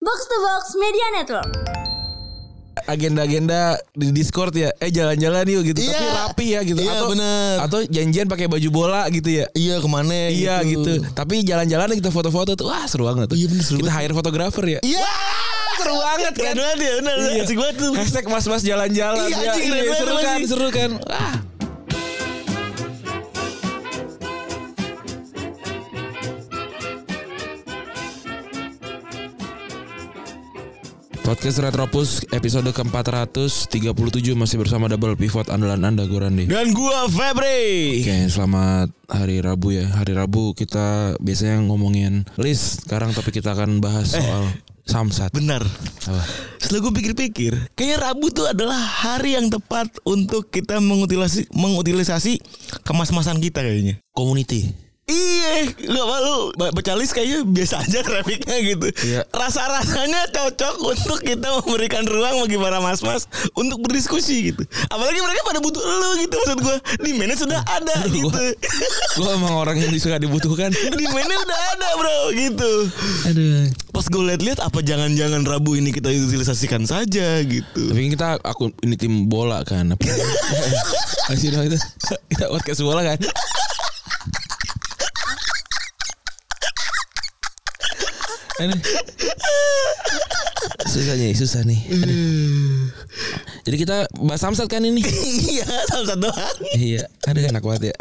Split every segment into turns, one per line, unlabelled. Box to Box Media Network.
agenda-agenda di Discord ya. Eh jalan-jalan yuk gitu.
Iya.
Tapi rapi ya gitu.
Iya,
atau
bener.
atau janjian pakai baju bola gitu ya.
Iya kemana
Iya gitu. Tapi jalan-jalan kita foto-foto tuh wah seru banget tuh.
Iya, bener, seru
kita
banget.
hire fotografer ya.
Iya Seru banget
kan?
Keren banget ya Bener
Iya.
Asik banget tuh
Hashtag mas-mas jalan-jalan
Iya, anjing, keren banget
seru kan,
anjing.
seru kan. Wah. Podcast Retropus episode ke-437 masih bersama double pivot andalan Anda gue Randy.
Dan gua Febri
Oke, selamat hari Rabu ya. Hari Rabu kita biasanya ngomongin list, sekarang tapi kita akan bahas soal samsat.
Benar
Apa?
Setelah gue pikir-pikir Kayaknya Rabu tuh adalah hari yang tepat Untuk kita mengutilisasi, mengutilisasi Kemas-masan kita kayaknya
Community.
Iya, gak malu. Ba- Baca list kayaknya biasa aja grafiknya gitu.
Iya.
Rasa-rasanya cocok untuk kita memberikan ruang bagi para mas-mas untuk berdiskusi gitu. Apalagi mereka pada butuh lu gitu maksud gua. Di mana sudah ada gitu.
Gue emang orang yang suka dibutuhkan.
Di mana udah ada, Bro, gitu.
Aduh.
Pas gue lihat-lihat apa jangan-jangan Rabu ini kita utilisasikan saja gitu.
Tapi kan kita aku ini tim bola kan. Apa? Masih dong itu. Kita podcast bola kan. Aduh. Susah nih, susah nih. Aduh. Jadi kita bahas samsat kan ini.
Iya, samsat doang.
iya, aduh enak banget ya.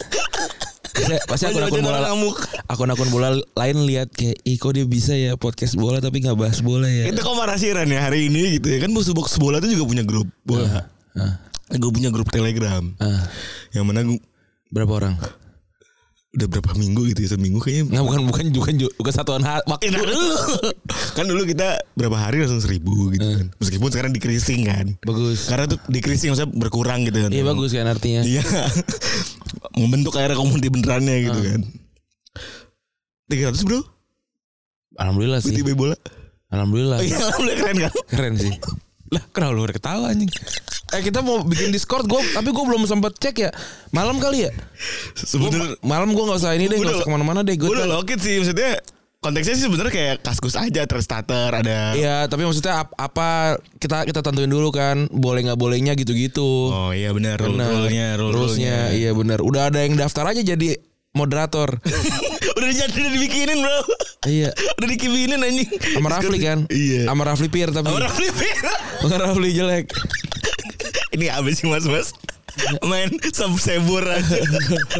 Pasti, pasti akun-akun
Baca-baca
bola
orang ngamuk.
akun-akun bola lain lihat kayak Iko dia bisa ya podcast bola tapi nggak bahas bola ya.
Itu komparasiran ya hari ini gitu ya. Kan box box bola tuh juga punya grup bola.
Ah,
Gue punya grup Telegram.
ah.
Yang mana gua-
berapa orang?
udah berapa minggu gitu ya seminggu kayaknya
Nggak bukan bukan bukan bukan satuan ha- waktu.
Eh, nah dulu kan dulu kita berapa hari langsung seribu gitu kan meskipun sekarang dikrising kan
Bagus.
karena tuh dikrising maksudnya berkurang gitu kan
Iya bagus kan artinya.
iya membentuk akhirnya komuniti benerannya gitu kan 300 bro
Alhamdulillah sih.
BTB bola
Alhamdulillah.
Iya. oh, iya alhamdulillah keren kan
Keren sih. Lah kenapa lu udah ketawa anjing? Eh kita mau bikin Discord gua tapi gua belum sempat cek ya. Malam kali ya?
sebenernya
Malam gua nggak usah ini deh,
Udah
nggak usah
lo-
kemana mana deh
gue udah
gua.
lokit sih maksudnya konteksnya sih sebenarnya kayak kaskus aja terstater ada
Iya, tapi maksudnya ap- apa kita kita tentuin dulu kan boleh nggak bolehnya gitu-gitu.
oh iya benar rule
Bener.
rule-nya rule
Rulesnya, iya benar. Udah ada yang daftar aja jadi moderator.
udah jadi udah dibikinin bro
iya.
Udah dikibinin anjing
Sama Rafli kan?
Iya
Sama Rafli Pier tapi.
Sama Rafli Fir.
Bukan Rafli jelek.
Ini abis sih mas-mas Main sebur aja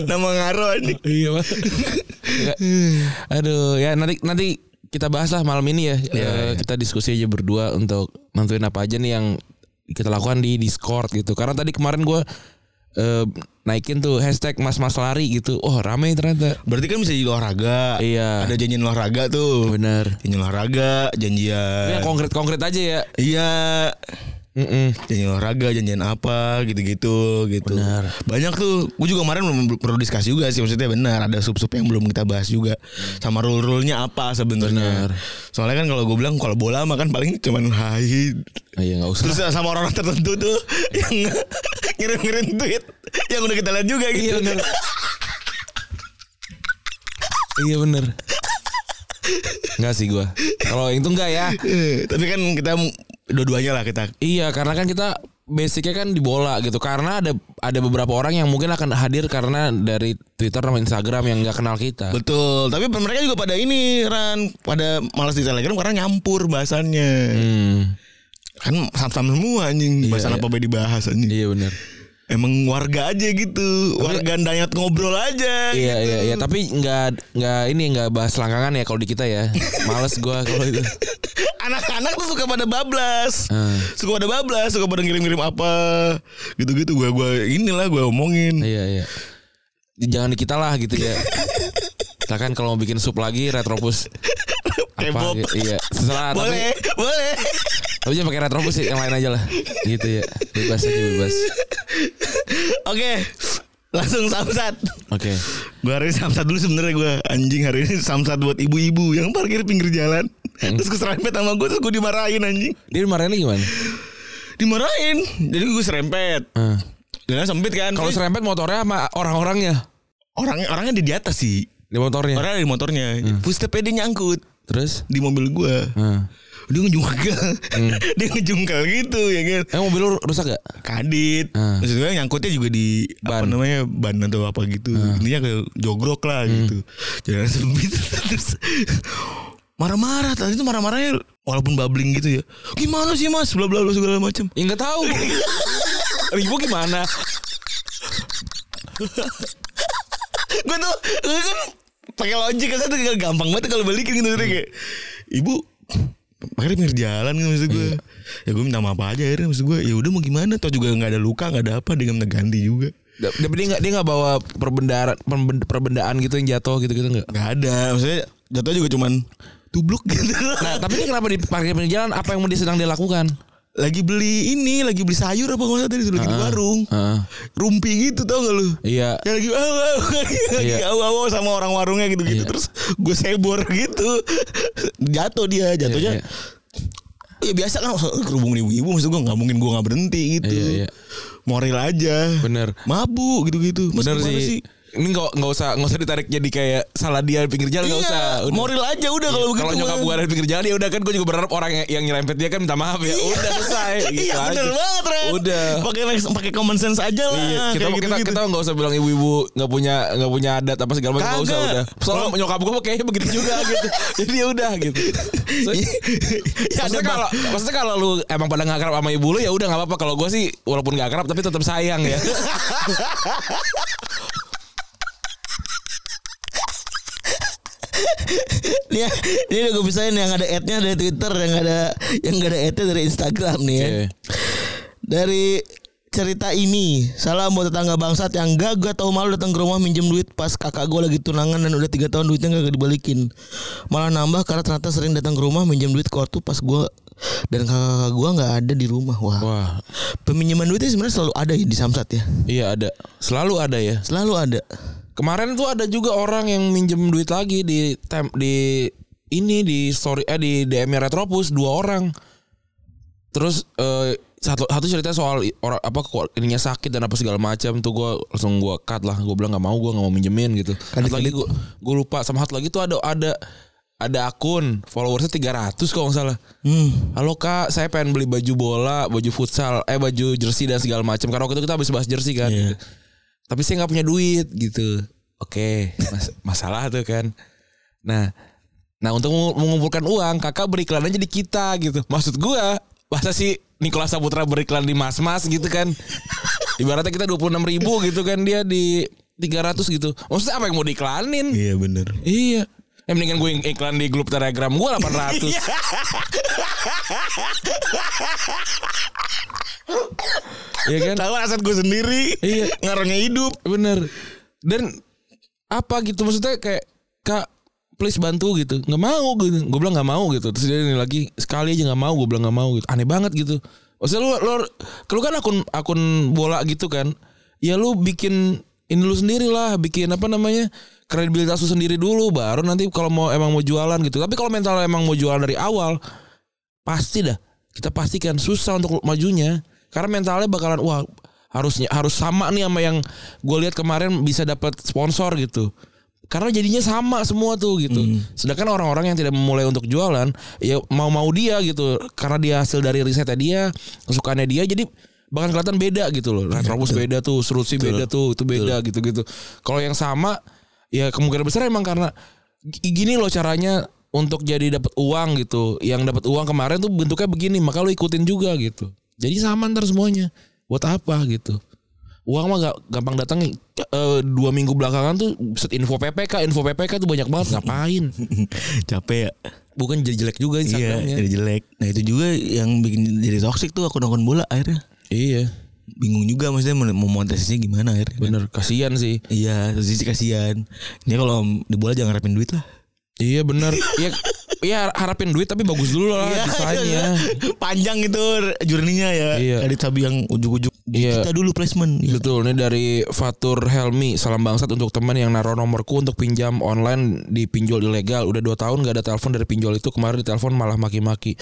Nama ngaruh ini
Iya pak. Aduh ya nanti nanti kita bahas lah malam ini ya. Eh, Kita diskusi aja berdua untuk nentuin apa aja nih yang kita lakukan di Discord gitu. Karena tadi kemarin gua eh, naikin tuh hashtag Mas Mas Lari gitu. Oh rame ternyata.
Berarti kan bisa jadi olahraga
Iya.
Ada janjian olahraga tuh
Bener.
Janjian olahraga
Ya,
Janjian
konkret-konkret aja ya.
Iya
Mm-mm.
Janjian olahraga Janjian apa Gitu-gitu gitu.
Benar.
Banyak tuh Gue juga kemarin belum perlu diskusi juga sih Maksudnya benar Ada sub-sub yang belum kita bahas juga Sama rule-rule-nya apa sebenarnya
Benar.
Soalnya kan kalau gue bilang Kalau bola mah kan paling cuman hai
Ah, Iya nggak usah.
Terus sama orang-orang tertentu tuh yang ngirim-ngirim tweet yang udah kita lihat juga
iya
gitu.
bener. iya bener. Enggak sih gua. Kalau yang itu enggak ya.
Eh, Tapi kan kita dua-duanya lah kita.
Iya, karena kan kita basicnya kan di bola gitu. Karena ada ada beberapa orang yang mungkin akan hadir karena dari Twitter sama Instagram yang nggak kenal kita.
Betul, tapi mereka juga pada ini Ran, pada malas di Telegram karena nyampur bahasannya.
Hmm,
Kan sama-sama semua anjing, bahasan
iya.
apa be dibahas anjing.
iya benar.
Emang warga aja gitu, warga dayat ngobrol aja.
Iya iya iya, tapi nggak nggak ini nggak bahas langkangan ya kalau di kita ya. Males gua kalau itu.
Anak-anak tuh suka pada bablas.
Ah.
Suka pada bablas, suka pada ngirim-ngirim apa. Gitu-gitu gua gua inilah gua omongin.
Iya iya. Jangan di kita lah gitu ya. Silakan kalau mau bikin sup lagi retropus apa
K-pop.
iya terserah tapi
Boleh, boleh.
tapi jangan pakai retropus sih, yang lain aja lah gitu ya bebas aja bebas
Oke, langsung samsat.
oke
Gue hari ini samsat dulu sebenarnya gue anjing hari ini samsat buat ibu-ibu yang parkir pinggir jalan.
Hmm.
Terus keserempet sama gue terus gue dimarahin anjing.
dia kemarin gimana
Dimarahin. Jadi gue serempet.
Ah.
Jalan sempit kan.
Kalau
Jadi
serempet motornya sama orang-orangnya
orangnya orangnya di, di atas sih.
di motornya.
Orangnya ada di motornya. Footstepnya dia nyangkut.
Terus?
di mobil gua.
Nah.
Dia ngejungkel. dia ngejungkel gitu ya kan.
Eh mobil lu rusak gak?
Kadit.
Ah.
Maksudnya nyangkutnya juga di apa
Ban.
namanya ban atau apa gitu. Intinya kayak jogrok lah gitu. Jalan sempit terus marah-marah tadi itu marah-marahnya walaupun babbling gitu ya. Gimana sih Mas bla bla bla segala macam.
Ya gak tahu. Ribu gimana?
gue tuh gue kan pakai logik kan tuh tinggal gampang banget kalau balikin gitu Jadi kayak ibu akhirnya pinggir jalan gitu maksud gue ya gue minta maaf aja akhirnya maksud gue ya udah mau gimana toh juga nggak ada luka nggak ada apa dia nggak minta ganti juga
Dia, dia gak, dia gak bawa perbendaan, perbendaan gitu yang jatuh gitu-gitu gak?
nggak ada maksudnya jatuh juga cuman tubluk gitu
Nah tapi dia kenapa di parkir pinggir jalan apa yang dia sedang dia lakukan?
lagi beli ini lagi beli sayur apa nggak salah tadi lagi di warung
Heeh.
rumpi gitu tau gak lu
Iya.
Ya lagi aw aw lagi
Iya.
aw aw sama orang warungnya gitu-gitu
Iya.
terus gue sebor gitu. Jatuh dia, jatuhnya.
Iya,
Ya biasa kan maksud- kerubung ibu-ibu maksud gue nggak mungkin gue nggak berhenti gitu.
Iya, iya.
Moral aja.
Bener.
Mabuk gitu-gitu. Mas,
Bener
gimana
sih. Ini nggak nggak usah nggak usah ditarik jadi kayak salah dia di pinggir jalan nggak
Iya, gitu
usah. Udah. Iya,
moral aja udah kalau begitu.
Kalau
mah.
nyokap gue ada di pinggir jalan ya udah kan gue juga berharap orang yang, yang nyerempet dia kan minta maaf ya. Udah selesai. gitu
Iya
aja.
bener banget Ren.
Udah.
Pakai pakai common sense aja lah.
Iya, kita
Ah, Kayak
kita
gitu-gitu.
kita nggak usah bilang ibu-ibu nggak punya nggak punya adat apa segala macam nggak usah
Kagak.
udah. Soalnya
Kalau-
nyokap gue kayaknya begitu juga gitu. Jadi ya udah gitu. So,
ya ada
maksudnya
bang-
kalau maksudnya kalau lu emang pada nggak akrab sama ibu lu ya udah nggak apa-apa. Kalau gue sih walaupun nggak akrab tapi tetap sayang ya.
Nih, ya, ini udah gue pisahin yang ada ad-nya dari Twitter, yang ada yang gak ada ad-nya dari Instagram nih ya.
Oke.
Dari cerita ini, salam buat tetangga bangsat yang gagah tahu malu datang ke rumah minjem duit pas kakak gue lagi tunangan dan udah tiga tahun duitnya gak dibalikin. Malah nambah karena ternyata sering datang ke rumah minjem duit kartu pas gue dan kakak gue nggak ada di rumah. Wah.
Wah,
Peminjaman duitnya sebenarnya selalu ada ya di Samsat ya.
iya ada. Selalu ada ya.
Selalu ada.
Kemarin tuh ada juga orang yang minjem duit lagi di tem di ini di story eh di DM Retropus dua orang. Terus eh, satu satu cerita soal i- orang apa kok ininya sakit dan apa segala macam tuh gua langsung gua cut lah. Gua bilang nggak mau gua nggak mau minjemin gitu. Satu lagi gua, gua lupa sama satu lagi tuh ada ada ada akun followersnya 300 kalau nggak salah.
Hmm.
Halo kak, saya pengen beli baju bola, baju futsal, eh baju jersey dan segala macam. Karena waktu itu kita habis bahas jersey kan.
Iya.
Tapi saya nggak punya duit gitu. Oke, mas- masalah tuh kan. Nah, nah untuk mengu- mengumpulkan uang, kakak beriklan aja di kita gitu. Maksud gua, masa sih Nikola Saputra beriklan di Mas Mas gitu kan? Ibaratnya kita 26.000 ribu gitu kan dia di 300 gitu. Maksudnya apa yang mau diiklanin?
Iya bener.
Iya. Eh, mendingan gue iklan di grup Telegram gue 800. Iya kan?
Tahu aset gue sendiri.
Iya.
Ngaruhnya hidup.
Bener. Dan apa gitu maksudnya kayak kak please bantu gitu nggak mau gitu gue bilang nggak mau gitu terus dia ini lagi sekali aja nggak mau gue bilang nggak mau gitu aneh banget gitu maksudnya lu lu, lu kan akun akun bola gitu kan ya lu bikin ini lu sendiri lah bikin apa namanya kredibilitas lu sendiri dulu baru nanti kalau mau emang mau jualan gitu tapi kalau mental emang mau jualan dari awal pasti dah kita pastikan susah untuk majunya karena mentalnya bakalan wah harusnya harus sama nih sama yang gue lihat kemarin bisa dapat sponsor gitu karena jadinya sama semua tuh gitu sedangkan orang-orang yang tidak memulai untuk jualan ya mau-mau dia gitu karena dia hasil dari risetnya dia kesukaannya dia jadi bahkan kelihatan beda gitu loh retrobus beda tuh serutsi beda tuh itu beda gitu-gitu kalau yang sama ya kemungkinan besar emang karena g- gini loh caranya untuk jadi dapat uang gitu. Yang dapat uang kemarin tuh bentuknya begini, maka lu ikutin juga gitu. Jadi sama ntar semuanya. Buat apa gitu? Uang mah gak, gampang datang eh, dua minggu belakangan tuh set info PPK, info PPK tuh banyak banget ngapain?
Capek ya.
Bukan jadi jelek juga
Iya,
Instagramnya.
jadi jelek. Nah itu juga yang bikin jadi toxic tuh akun-akun bola akhirnya.
Iya,
Bingung juga maksudnya mau mau monetisasinya gimana akhirnya.
bener kasihan sih.
Iya, terus sih kasihan. Ini kalau di bola jangan harapin duit lah.
Iya bener. Iya, iya harapin duit tapi bagus dulu lah desainnya.
Gitu Panjang itu journey-nya ya.
Iya.
Kadit sabi yang ujuk-ujuk.
Iya.
Kita dulu placement. Iya.
Betul, ini dari Fatur Helmi Salam bangsat untuk teman yang naruh nomorku Untuk pinjam online di pinjol ilegal Udah 2 tahun gak ada telepon dari pinjol itu Kemarin ditelepon malah maki-maki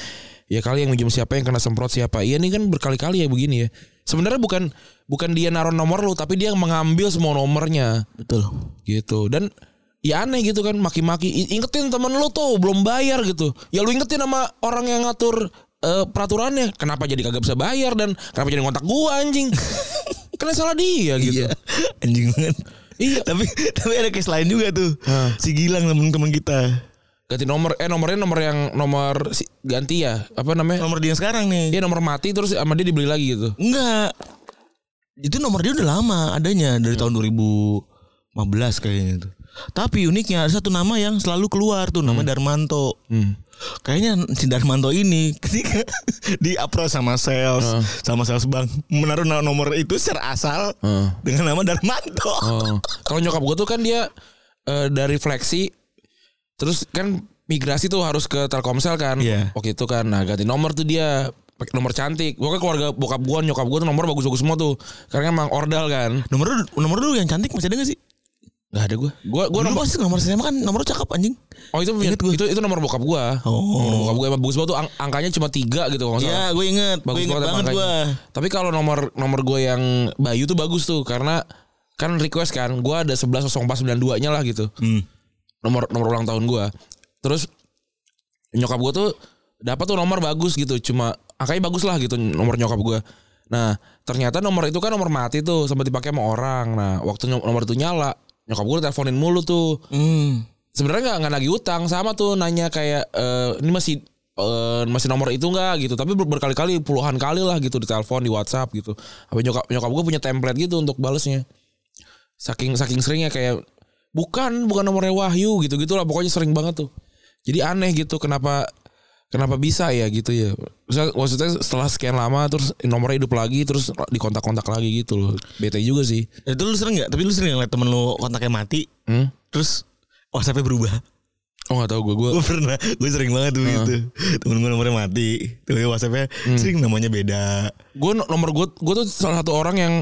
Ya kali yang minjem siapa yang kena semprot siapa Iya nih kan berkali-kali ya begini ya Sebenarnya bukan bukan dia naruh nomor lu Tapi dia mengambil semua nomornya
Betul.
gitu Dan ya aneh gitu kan maki-maki I- ingetin temen lu tuh belum bayar gitu ya lu ingetin sama orang yang ngatur eh, peraturannya kenapa jadi kagak bisa bayar dan kenapa jadi kontak gua anjing karena salah dia gitu
Iya. Anjing banget.
Iya.
tapi tapi ada case lain juga tuh. Si Gilang teman-teman kita.
ganti nomor eh nomornya nomor yang nomor si- ganti ya apa namanya
Nomor dia yang sekarang nih.
dia nomor mati terus sama dia dibeli lagi gitu
Enggak. Itu nomor dia udah lama adanya dari tahun 2015 kayaknya tuh. Tapi uniknya ada satu nama yang selalu keluar tuh nama Darmanto. Kayaknya si Darmanto ini ketika di approach sama sales, sama sales bank menaruh na- nomor itu secara asal
Heeh.
dengan nama Darmanto.
Oh. Kalau nyokap gue tuh kan dia eh, dari fleksi terus kan migrasi tuh harus ke Telkomsel kan.
Iya.
Waktu itu kan nah ganti nomor tuh dia pakai nomor cantik. Pokoknya keluarga bokap gue nyokap gue tuh nomor bagus-bagus semua tuh. Karena emang ordal kan.
Nomor lu- nomor dulu yang cantik masih ada gak sih?
Gak ada gue. Gue gue
Gua
nomor
nomor pasti nomor SMA kan nomor lu cakep anjing.
Oh itu punya-
Ingat gua.
itu itu nomor bokap gue.
Oh.
Nomor bokap gue emang bagus banget tuh ang- angkanya cuma tiga gitu kalau nggak salah.
Iya, gue inget, gue
Bagus
inget
banget,
banget
emang
gue.
angkanya. Tapi kalau nomor nomor gue yang Bayu tuh bagus tuh karena kan request kan gue ada 110492 nya lah gitu.
Hmm.
nomor nomor ulang tahun gua. Terus nyokap gua tuh dapat tuh nomor bagus gitu, cuma angkanya bagus lah gitu nomor nyokap gua. Nah, ternyata nomor itu kan nomor mati tuh sempat dipakai sama orang. Nah, waktu nyom- nomor itu nyala, nyokap gua teleponin mulu tuh.
Hmm.
Sebenarnya nggak nggak nagih utang, sama tuh nanya kayak eh, ini masih eh, masih nomor itu nggak gitu, tapi ber- berkali-kali puluhan kali lah gitu di telepon, di WhatsApp gitu. Apa nyokap nyokap gua punya template gitu untuk balesnya saking saking seringnya kayak bukan bukan nomornya Wahyu gitu gitulah pokoknya sering banget tuh jadi aneh gitu kenapa kenapa bisa ya gitu ya Maksudnya- maksudnya setelah sekian lama terus nomornya hidup lagi terus dikontak-kontak lagi gitu loh bete juga sih
Itu lu sering gak? Tapi lu sering ngeliat temen lu kontaknya mati,
hmm?
terus WhatsAppnya berubah.
oh nggak tahu gue gue
Gue pernah, gue sering banget tuh gitu. Temen gue nomornya mati, temen gue WhatsAppnya
Hmm.
sering namanya beda.
gue nomor gue gue tuh salah satu orang yang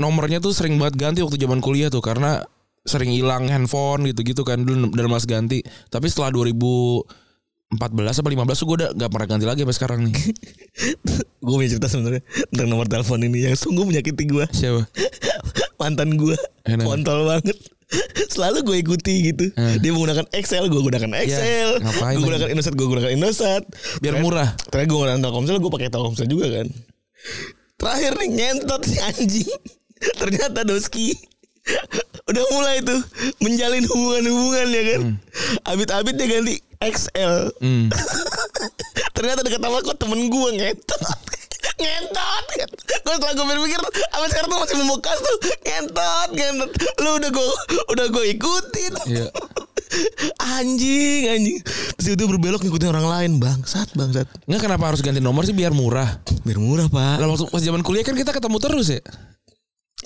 nomornya tuh sering banget ganti waktu zaman kuliah tuh karena sering hilang handphone gitu-gitu kan dulu dan mas ganti tapi setelah 2014 apa 15 tuh gue udah gak pernah ganti lagi sampai sekarang nih
gue punya cerita sebenarnya tentang nomor telepon ini yang sungguh menyakiti gue.
siapa
Mantan gue,
Enak.
kontol banget. Selalu gue ikuti gitu. Dia menggunakan Excel, gue gunakan Excel.
Eh. Iya. ngapain
gue
lagi?
gunakan Indosat, gue gunakan Indosat.
biar
Terakhir-
murah
Terakhir gue ngeliat Telkomsel, gue pakai Telkomsel juga kan. Terakhir nih nyentot si anjing. Ternyata Doski udah mulai tuh menjalin hubungan-hubungan ya kan. Abit-abit dia ganti XL.
Hmm.
Ternyata dekat sama kok temen gue ngentot. ngentot. Gue setelah gue pikir apa sekarang tuh masih membekas tuh ngentot, ngentot. Lu udah gue udah gue ikutin.
Iya.
anjing, anjing. Terus itu berbelok ngikutin orang lain, bangsat, bangsat.
Nggak kenapa harus ganti nomor sih biar murah.
Biar murah pak
Lah waktu pas zaman kuliah kan kita ketemu terus ya.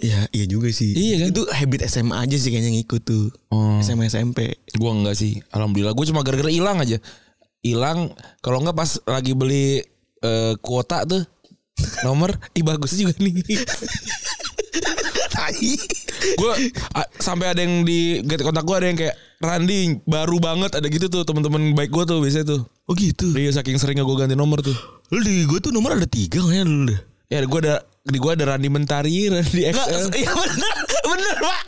Ya iya juga sih
Iya kan?
Itu habit SMA aja sih kayaknya ngikut tuh
Oh.
SMA SMP
Gua enggak sih. Alhamdulillah gua cuma gara-gara hilang aja. Hilang kalau enggak pas lagi beli eh, kuota tuh nomor ih bagus juga nih.
Tai
gua a- sampai ada yang di get kontak gua ada yang kayak Randi baru banget ada gitu tuh teman-teman baik gua tuh biasanya tuh.
Oh gitu
Iya saking seringnya gua ganti nomor tuh.
Lu di gue tuh nomor ada tiga kayaknya dulu deh
Ya gua ada di gua ada Randi Mentari, Randi
Enggak
XL.
Iya bener Bener pak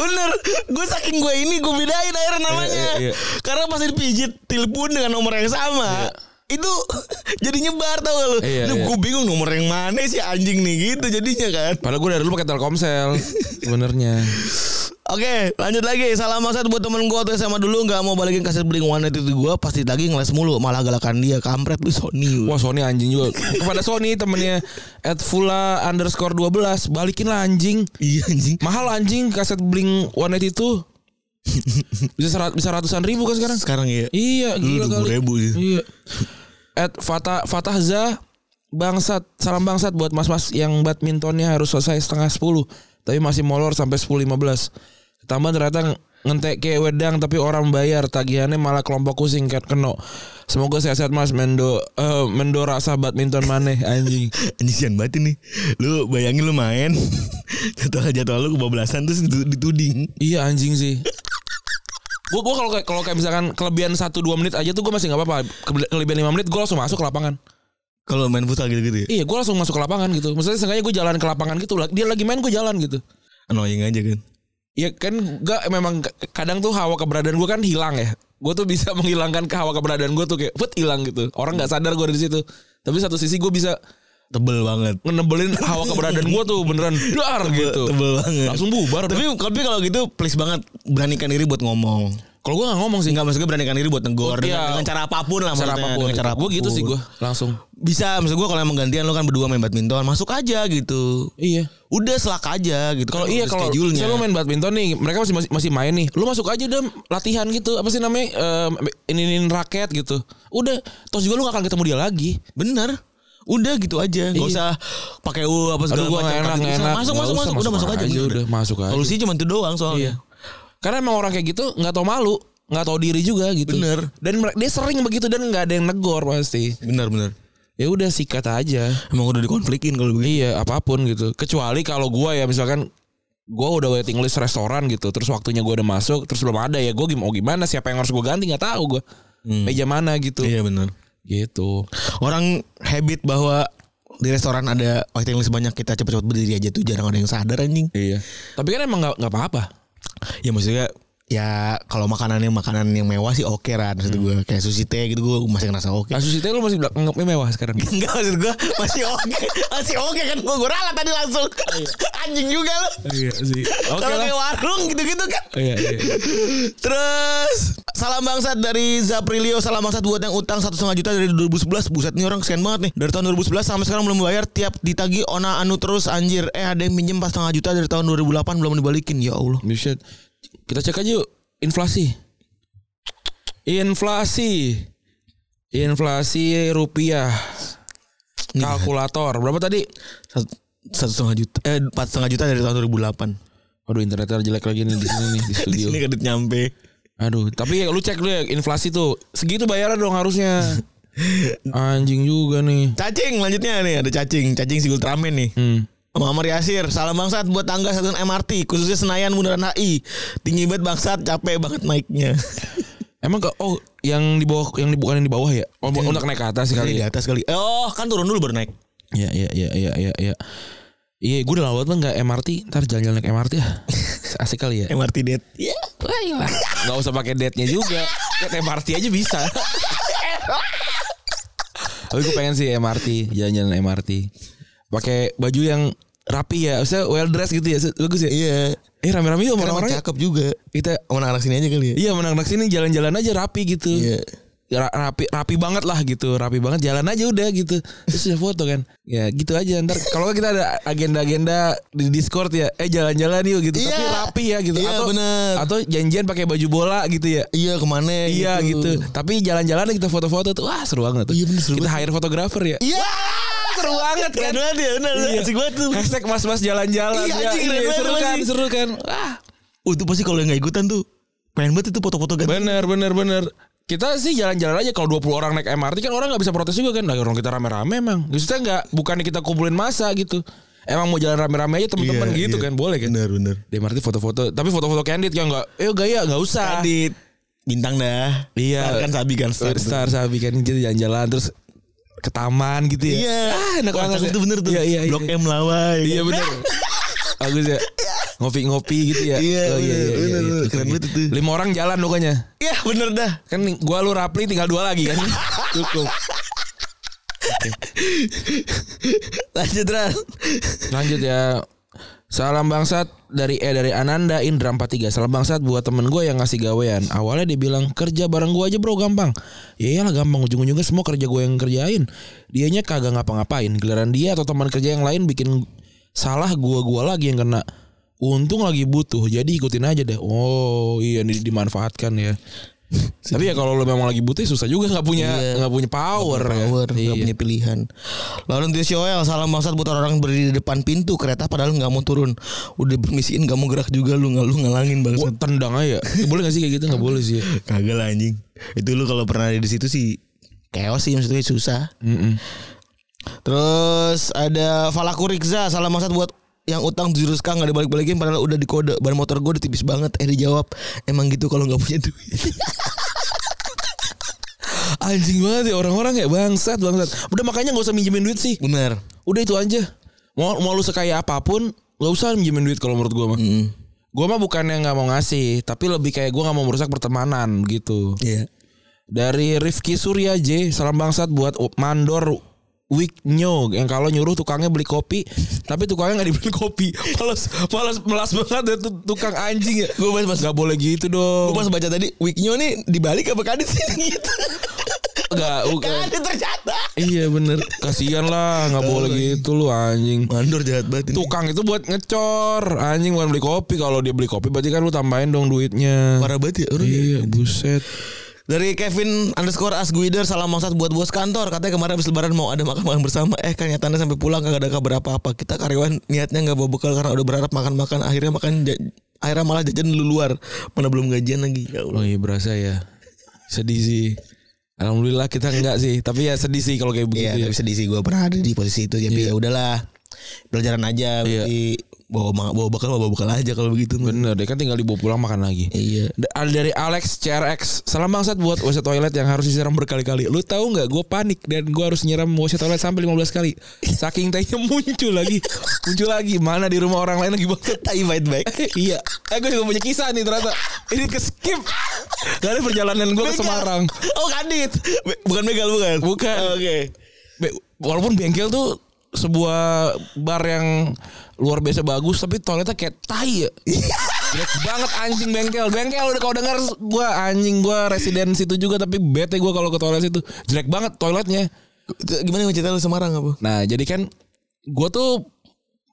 Bener Gue saking gue ini Gue bedain akhirnya namanya
Iya, iya, iya.
Karena pas dipijit Telepon dengan nomor yang sama Itu Jadi nyebar tau gak lu
Iya, iya.
Gue bingung nomor yang mana sih anjing nih gitu Jadinya kan
Padahal gua dari dulu pakai Telkomsel sebenarnya.
Oke, lanjut lagi. Salam maksud buat temen gue tuh SMA dulu nggak mau balikin kaset bling one itu gue pasti lagi ngeles mulu, malah galakan dia kampret lu Sony.
Wah Sony anjing juga Kepada Sony temennya At Fula underscore 12 Balikin lah anjing
Iya anjing.
Mahal anjing kaset Blink One itu bisa, serat, bisa ratusan ribu kan sekarang
Sekarang ya.
Iya
Dulu
gila
dua
kali
ribu ya.
Iya At Fatah Fatahza Bangsat Salam bangsat buat mas-mas Yang badmintonnya harus selesai setengah 10 Tapi masih molor sampai 10.15 Tambah ternyata ngentek ke wedang tapi orang bayar tagihannya malah kelompok kucing kan kena semoga sehat-sehat mas mendo eh, mendo rasa badminton maneh anjing
Anjing sian banget ini. Lu bayangin lu main. Jadwal jadwal lu kebablasan terus ditu- dituding.
Iya anjing sih. Gue gua kalau kayak kalau kayak misalkan kelebihan 1 2 menit aja tuh gue masih nggak apa-apa. Kebe- Kelebihan 5 menit gue langsung masuk ke lapangan.
Kalau main futsal gitu-gitu ya.
Iya, gue langsung masuk ke lapangan gitu. Maksudnya sengaja gue jalan ke lapangan gitu. Dia lagi main gue jalan gitu.
Annoying aja kan.
Ya kan gak memang k- kadang tuh hawa keberadaan gue kan hilang ya. Gue tuh bisa menghilangkan ke hawa keberadaan gue tuh kayak put hilang gitu. Orang nggak sadar gue ada di situ. Tapi satu sisi gue bisa
Tebel banget.
ngenebelin hawa keberadaan gue tuh beneran dar gitu.
Tebel banget.
Langsung bubar.
Tapi tapi kalau gitu please banget beranikan diri buat ngomong.
Kalau gue gak ngomong sih.
Enggak maksudnya beranikan diri buat negor dengan,
Iya.
dengan cara apapun lah
Cara
maksudnya,
apapun.
dengan cara
Gue gitu
apapun.
sih gue langsung.
Bisa maksud gue kalau emang gantian lo kan berdua main badminton masuk aja gitu.
Iya.
Udah selak aja gitu.
Kalau
Kan
iya
udah
kalau
schedule-nya.
misalnya lu main badminton nih, mereka masih masih, masih main nih. Lu masuk aja udah latihan gitu, apa sih namanya? ini iniin raket gitu. Udah, terus juga lu gak akan ketemu dia lagi.
Bener Udah gitu aja Gak
Iya.
usah pakai u apa segala
Aduh gua
macam
gak enak,
Kagak
gak
bisa.
enak. Gak
Masuk masuk
usah,
masuk Udah masuk aja, bener.
udah masuk aja.
Solusinya cuma itu doang soalnya
Iya. Karena emang orang kayak gitu nggak tahu malu, nggak tahu diri juga gitu.
Bener.
Dan mere- dia sering begitu dan nggak ada yang negor pasti.
Bener bener
Ya udah sikat aja.
Emang udah dikonflikin kalau begitu
Iya apapun gitu. Kecuali kalau gua ya misalkan gua udah waiting list restoran gitu, terus waktunya gua udah masuk, terus belum ada ya gua gim- mau gimana? Siapa yang harus gua ganti nggak tahu gua. Meja mana gitu.
Hmm. Iya bener
Gitu.
Orang habit bahwa Di restoran ada Waktu yang sebanyak kita cepet-cepet berdiri aja tuh Jarang ada yang sadar anjing
Iya. Tapi kan emang nggak nggak apa-apa.
Ya maksudnya Ya kalau makanannya makanan yang mewah sih oke Ran Maksud gue Kayak sushi teh gitu gue masih ngerasa oke
Kasus itu lu masih bilang nganggapnya mewah sekarang.
Enggak maksud gue Masih oke Masih oke kan Gue gue ralat tadi langsung Anjing juga lo
Iya sih. Oke
Kalau
lah.
kayak warung gitu-gitu kan
Iya, iya.
Terus Salam bangsat dari Zaprilio Salam bangsat buat yang utang satu setengah juta dari 2011 Buset nih orang kesian banget nih Dari tahun 2011 sampai sekarang belum bayar Tiap ditagi ona anu terus anjir Eh ada yang minjem pas setengah juta dari tahun 2008 Belum dibalikin Ya Allah
Buset. Kita cek aja yuk inflasi. Inflasi. Inflasi rupiah. Kalkulator. Berapa tadi?
Satu, satu setengah juta Eh empat setengah juta dari tahun 2008
Aduh internetnya jelek lagi nih di sini kan. nih di
Di
studio.
sini kredit nyampe
Aduh, tapi ya lu cek dulu ya inflasi tuh. Segitu bayaran dong harusnya. Anjing juga nih.
Cacing lanjutnya nih Ada cacing Cacing si Ultraman nih
Hmm.
Muhammad Yasir, salam bangsat buat tangga stasiun MRT, khususnya Senayan Bundaran HI. Tinggi banget bangsat, capek banget naiknya.
Emang ke oh yang di bawah yang di bukan yang di bawah ya? Oh, untuk naik ke atas sih
Kali
kali.
di
ya?
atas kali. Eh, Oh, kan turun dulu baru naik.
Iya, iya, iya, iya, iya, iya. Iya, gue udah lama banget enggak MRT, ntar jalan-jalan naik MRT ya. Asik kali ya.
MRT det. Iya.
Gak usah pakai date-nya juga. Kayak MRT aja bisa. Tapi gue pengen sih MRT, jalan-jalan MRT. Pakai baju yang rapi ya, maksudnya well dressed gitu ya, bagus ya.
Iya.
Eh rame-rame yuk
Orang
orang-orangnya.
cakep juga.
Kita
Sama anak sini aja kali ya.
iya menang-menang sini jalan-jalan aja rapi gitu.
Iya.
Ra- rapi rapi banget lah gitu rapi banget jalan aja udah gitu terus udah foto kan ya gitu aja ntar kalau nggak kita ada agenda-agenda di Discord ya eh jalan-jalan yuk gitu tapi
Iya.
rapi ya gitu
Iya,
atau
bener.
atau janjian pakai baju bola gitu ya
Iya, kemana
Iya gitu. Tapi jalan-jalan kita foto-foto tuh wah seru banget tuh.
Iya, bener, seru
kita hire fotografer ya.
Iya.
Seru banget
Keren banget ya, bener. Asik banget tuh.
Hashtag mas-mas jalan-jalan
Iya,
ya.
anjing, keren banget
seru
tuh,
kan,
anjing.
seru kan. Wah,
Oh, itu pasti kalau yang gak ikutan tuh pengen banget itu foto-foto ganti.
bener bener bener. Kita sih jalan-jalan aja kalau 20 orang naik MRT kan orang nggak bisa protes juga kan. Nah, orang kita rame-rame emang. Justru nggak bukan kita kumpulin masa gitu. Emang mau jalan rame-rame aja teman-teman
Iya,
gitu
iya.
kan boleh kan.
Bener, bener.
Di MRT foto-foto, tapi foto-foto candid yang enggak eh gaya nggak usah.
Adit bintang dah.
Iya.
Kan, kan Sabi kan
Star, Star Sabi kan jadi jalan-jalan terus ke taman gitu ya.
Iya.
Ah, enak
Wah,
banget.
cakep
ya.
tuh bener tuh.
Iya, iya, iya.
Blok M lawa. ya
Iya
kan?
bener. Bagus ya. Ngopi-ngopi gitu ya. Oh,
Iya, bener, bener, bener.
Oke,
Keren
oke.
banget itu.
Lima orang jalan pokoknya.
Iya, bener dah.
Kan gua lu Rapli tinggal dua lagi kan. Cukup.
Lanjut Ran.
Lanjut ya. Salam bangsat dari eh dari Ananda Indra 43. Salam bangsat buat temen gue yang ngasih gawean. Awalnya dia bilang kerja bareng gue aja bro gampang. Ya iyalah gampang ujung-ujungnya semua kerja gue yang kerjain. Dianya kagak ngapa-ngapain. Gelaran dia atau teman kerja yang lain bikin salah gua gua lagi yang kena. Untung lagi butuh. Jadi ikutin aja deh. Oh, iya ini dimanfaatkan ya. Tapi ya kalau lo memang lagi butuh susah juga nggak punya nggak punya power,
Power
ya.
Iya. nggak
Iya.
punya pilihan. Lalu nanti Shoel salam bangsat buat orang yang berdiri di depan pintu kereta padahal nggak mau turun. Udah permisiin nggak mau gerak juga lu nggak lu ngalangin
Gua
bangsat.
tendang aja. Ya, boleh gak sih kayak gitu? Gak boleh sih.
Kagak lah anjing. Itu lu kalau pernah ada di situ sih chaos sih maksudnya susah.
Mm-mm.
Terus ada Falaku Rikza salam bangsat buat yang utang tujuh k nggak dibalik balikin padahal udah dikode ban motor gue udah tipis banget eh dijawab emang gitu kalau nggak punya duit
Anjing banget ya orang-orang ya bangsat bangsat. Udah makanya nggak usah minjemin duit sih.
bener Hmm.
Udah itu aja. Mau mau lu sekaya apapun, nggak usah minjemin duit kalau menurut gua mah. Gue mah bukannya nggak mau ngasih, tapi lebih kayak gue nggak mau merusak pertemanan gitu.
Iya.
Dari Rifki Surya J, salam bangsat buat U- Mandor Wiknyo yang kalau nyuruh tukangnya beli kopi, tapi tukangnya nggak dibeli kopi. Males, males, melas banget ya tuh tukang anjing ya.
Gue pas pas
Gak boleh gitu
gue
dong.
pas Oh, baca tadi Wiknyo nih dibalik apa kadit sih gitu.
Gak,
Kadit ternyata.
Iya bener Kasian lah nggak boleh gitu lu anjing
Mandor jahat banget ini.
Tukang itu buat ngecor Anjing bukan beli kopi Kalau dia beli kopi Berarti kan lu tambahin dong duitnya
Parah banget ya orang ya.
Iya buset
Dari Kevin underscore Asguider Salam maksat buat bos kantor Katanya kemarin habis lebaran mau ada makan-makan bersama Eh kan nyatanya sampai pulang kagak ada kabar apa-apa Kita karyawan niatnya nggak bawa bekal Karena udah berharap makan-makan Akhirnya makan ja- Akhirnya malah jajan lu luar Mana belum gajian lagi Ya Allah
Oh iya berasa ya Sedih sih Alhamdulillah kita enggak sih Tapi ya sedih sih kalau kayak
Iya
begitu ya
tapi sedih sih gue pernah ada di posisi itu Jadi ya udahlah Pelajaran aja Berarti bawa, ma- bawa bekal bawa bekal aja kalau begitu mah.
Bener deh kan tinggal dibawa pulang makan lagi
Iya
Da- dari Alex CRX Salam bangsat buat WC toilet yang harus disiram berkali-kali Lu tahu nggak gue panik dan gue harus nyiram WC toilet sampai 15 kali Saking tehnya muncul lagi Muncul lagi Mana di rumah orang lain lagi banget
Tai baik baik
iya. Eh gue juga punya kisah nih ternyata. Ini ke skip. Dari perjalanan gue ke Semarang.
Oh kadit Be- Bukan begal bukan
Bukan.
Oke
Be- Walaupun bengkel tuh sebuah bar yang luar biasa bagus tapi toiletnya kayak tai ya. Jelek banget anjing bengkel. Bengkel udah kau dengar gua anjing gua residen situ juga tapi bete gua kalau ke toilet situ. Jelek banget toiletnya.
Gimana cerita lu Semarang apa?
Nah, jadi kan gue tuh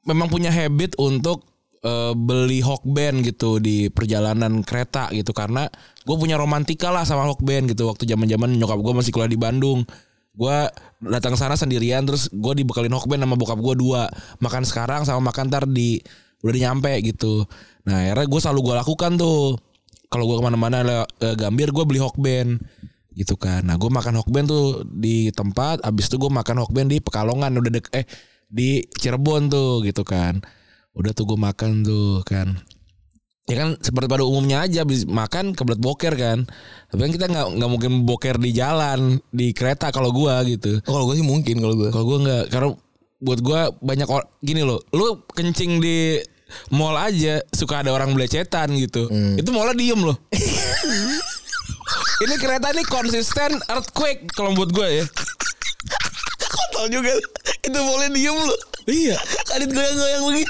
memang punya habit untuk eh, beli Hokben gitu di perjalanan kereta gitu karena gue punya romantika lah sama Hokben gitu waktu zaman-zaman nyokap gue masih kuliah di Bandung. Gue datang sana sendirian terus gue dibekalin Hokben sama bokap gue dua makan sekarang sama makan ntar di udah di nyampe gitu. Nah, akhirnya gue selalu gue lakukan tuh kalau gue kemana-mana le- eh, Gambir gue beli Hokben gitu kan. Nah gue makan hokben tuh di tempat, abis itu gue makan hokben di Pekalongan udah dek eh di Cirebon tuh gitu kan. Udah tuh gue makan tuh kan. Ya kan seperti pada umumnya aja abis makan kebelet boker kan. Tapi kan kita nggak nggak mungkin boker di jalan di kereta kalau gua gitu.
Oh, kalau gue sih mungkin kalau gue.
Kalau gua nggak karena buat gua banyak or- gini loh. Lu kencing di mall aja suka ada orang belecetan gitu. Itu mallnya diem loh. ini kereta ini konsisten earthquake kalau buat gua ya.
Kontol juga. Itu boleh diem lu.
Iya.
Kadit goyang-goyang begini.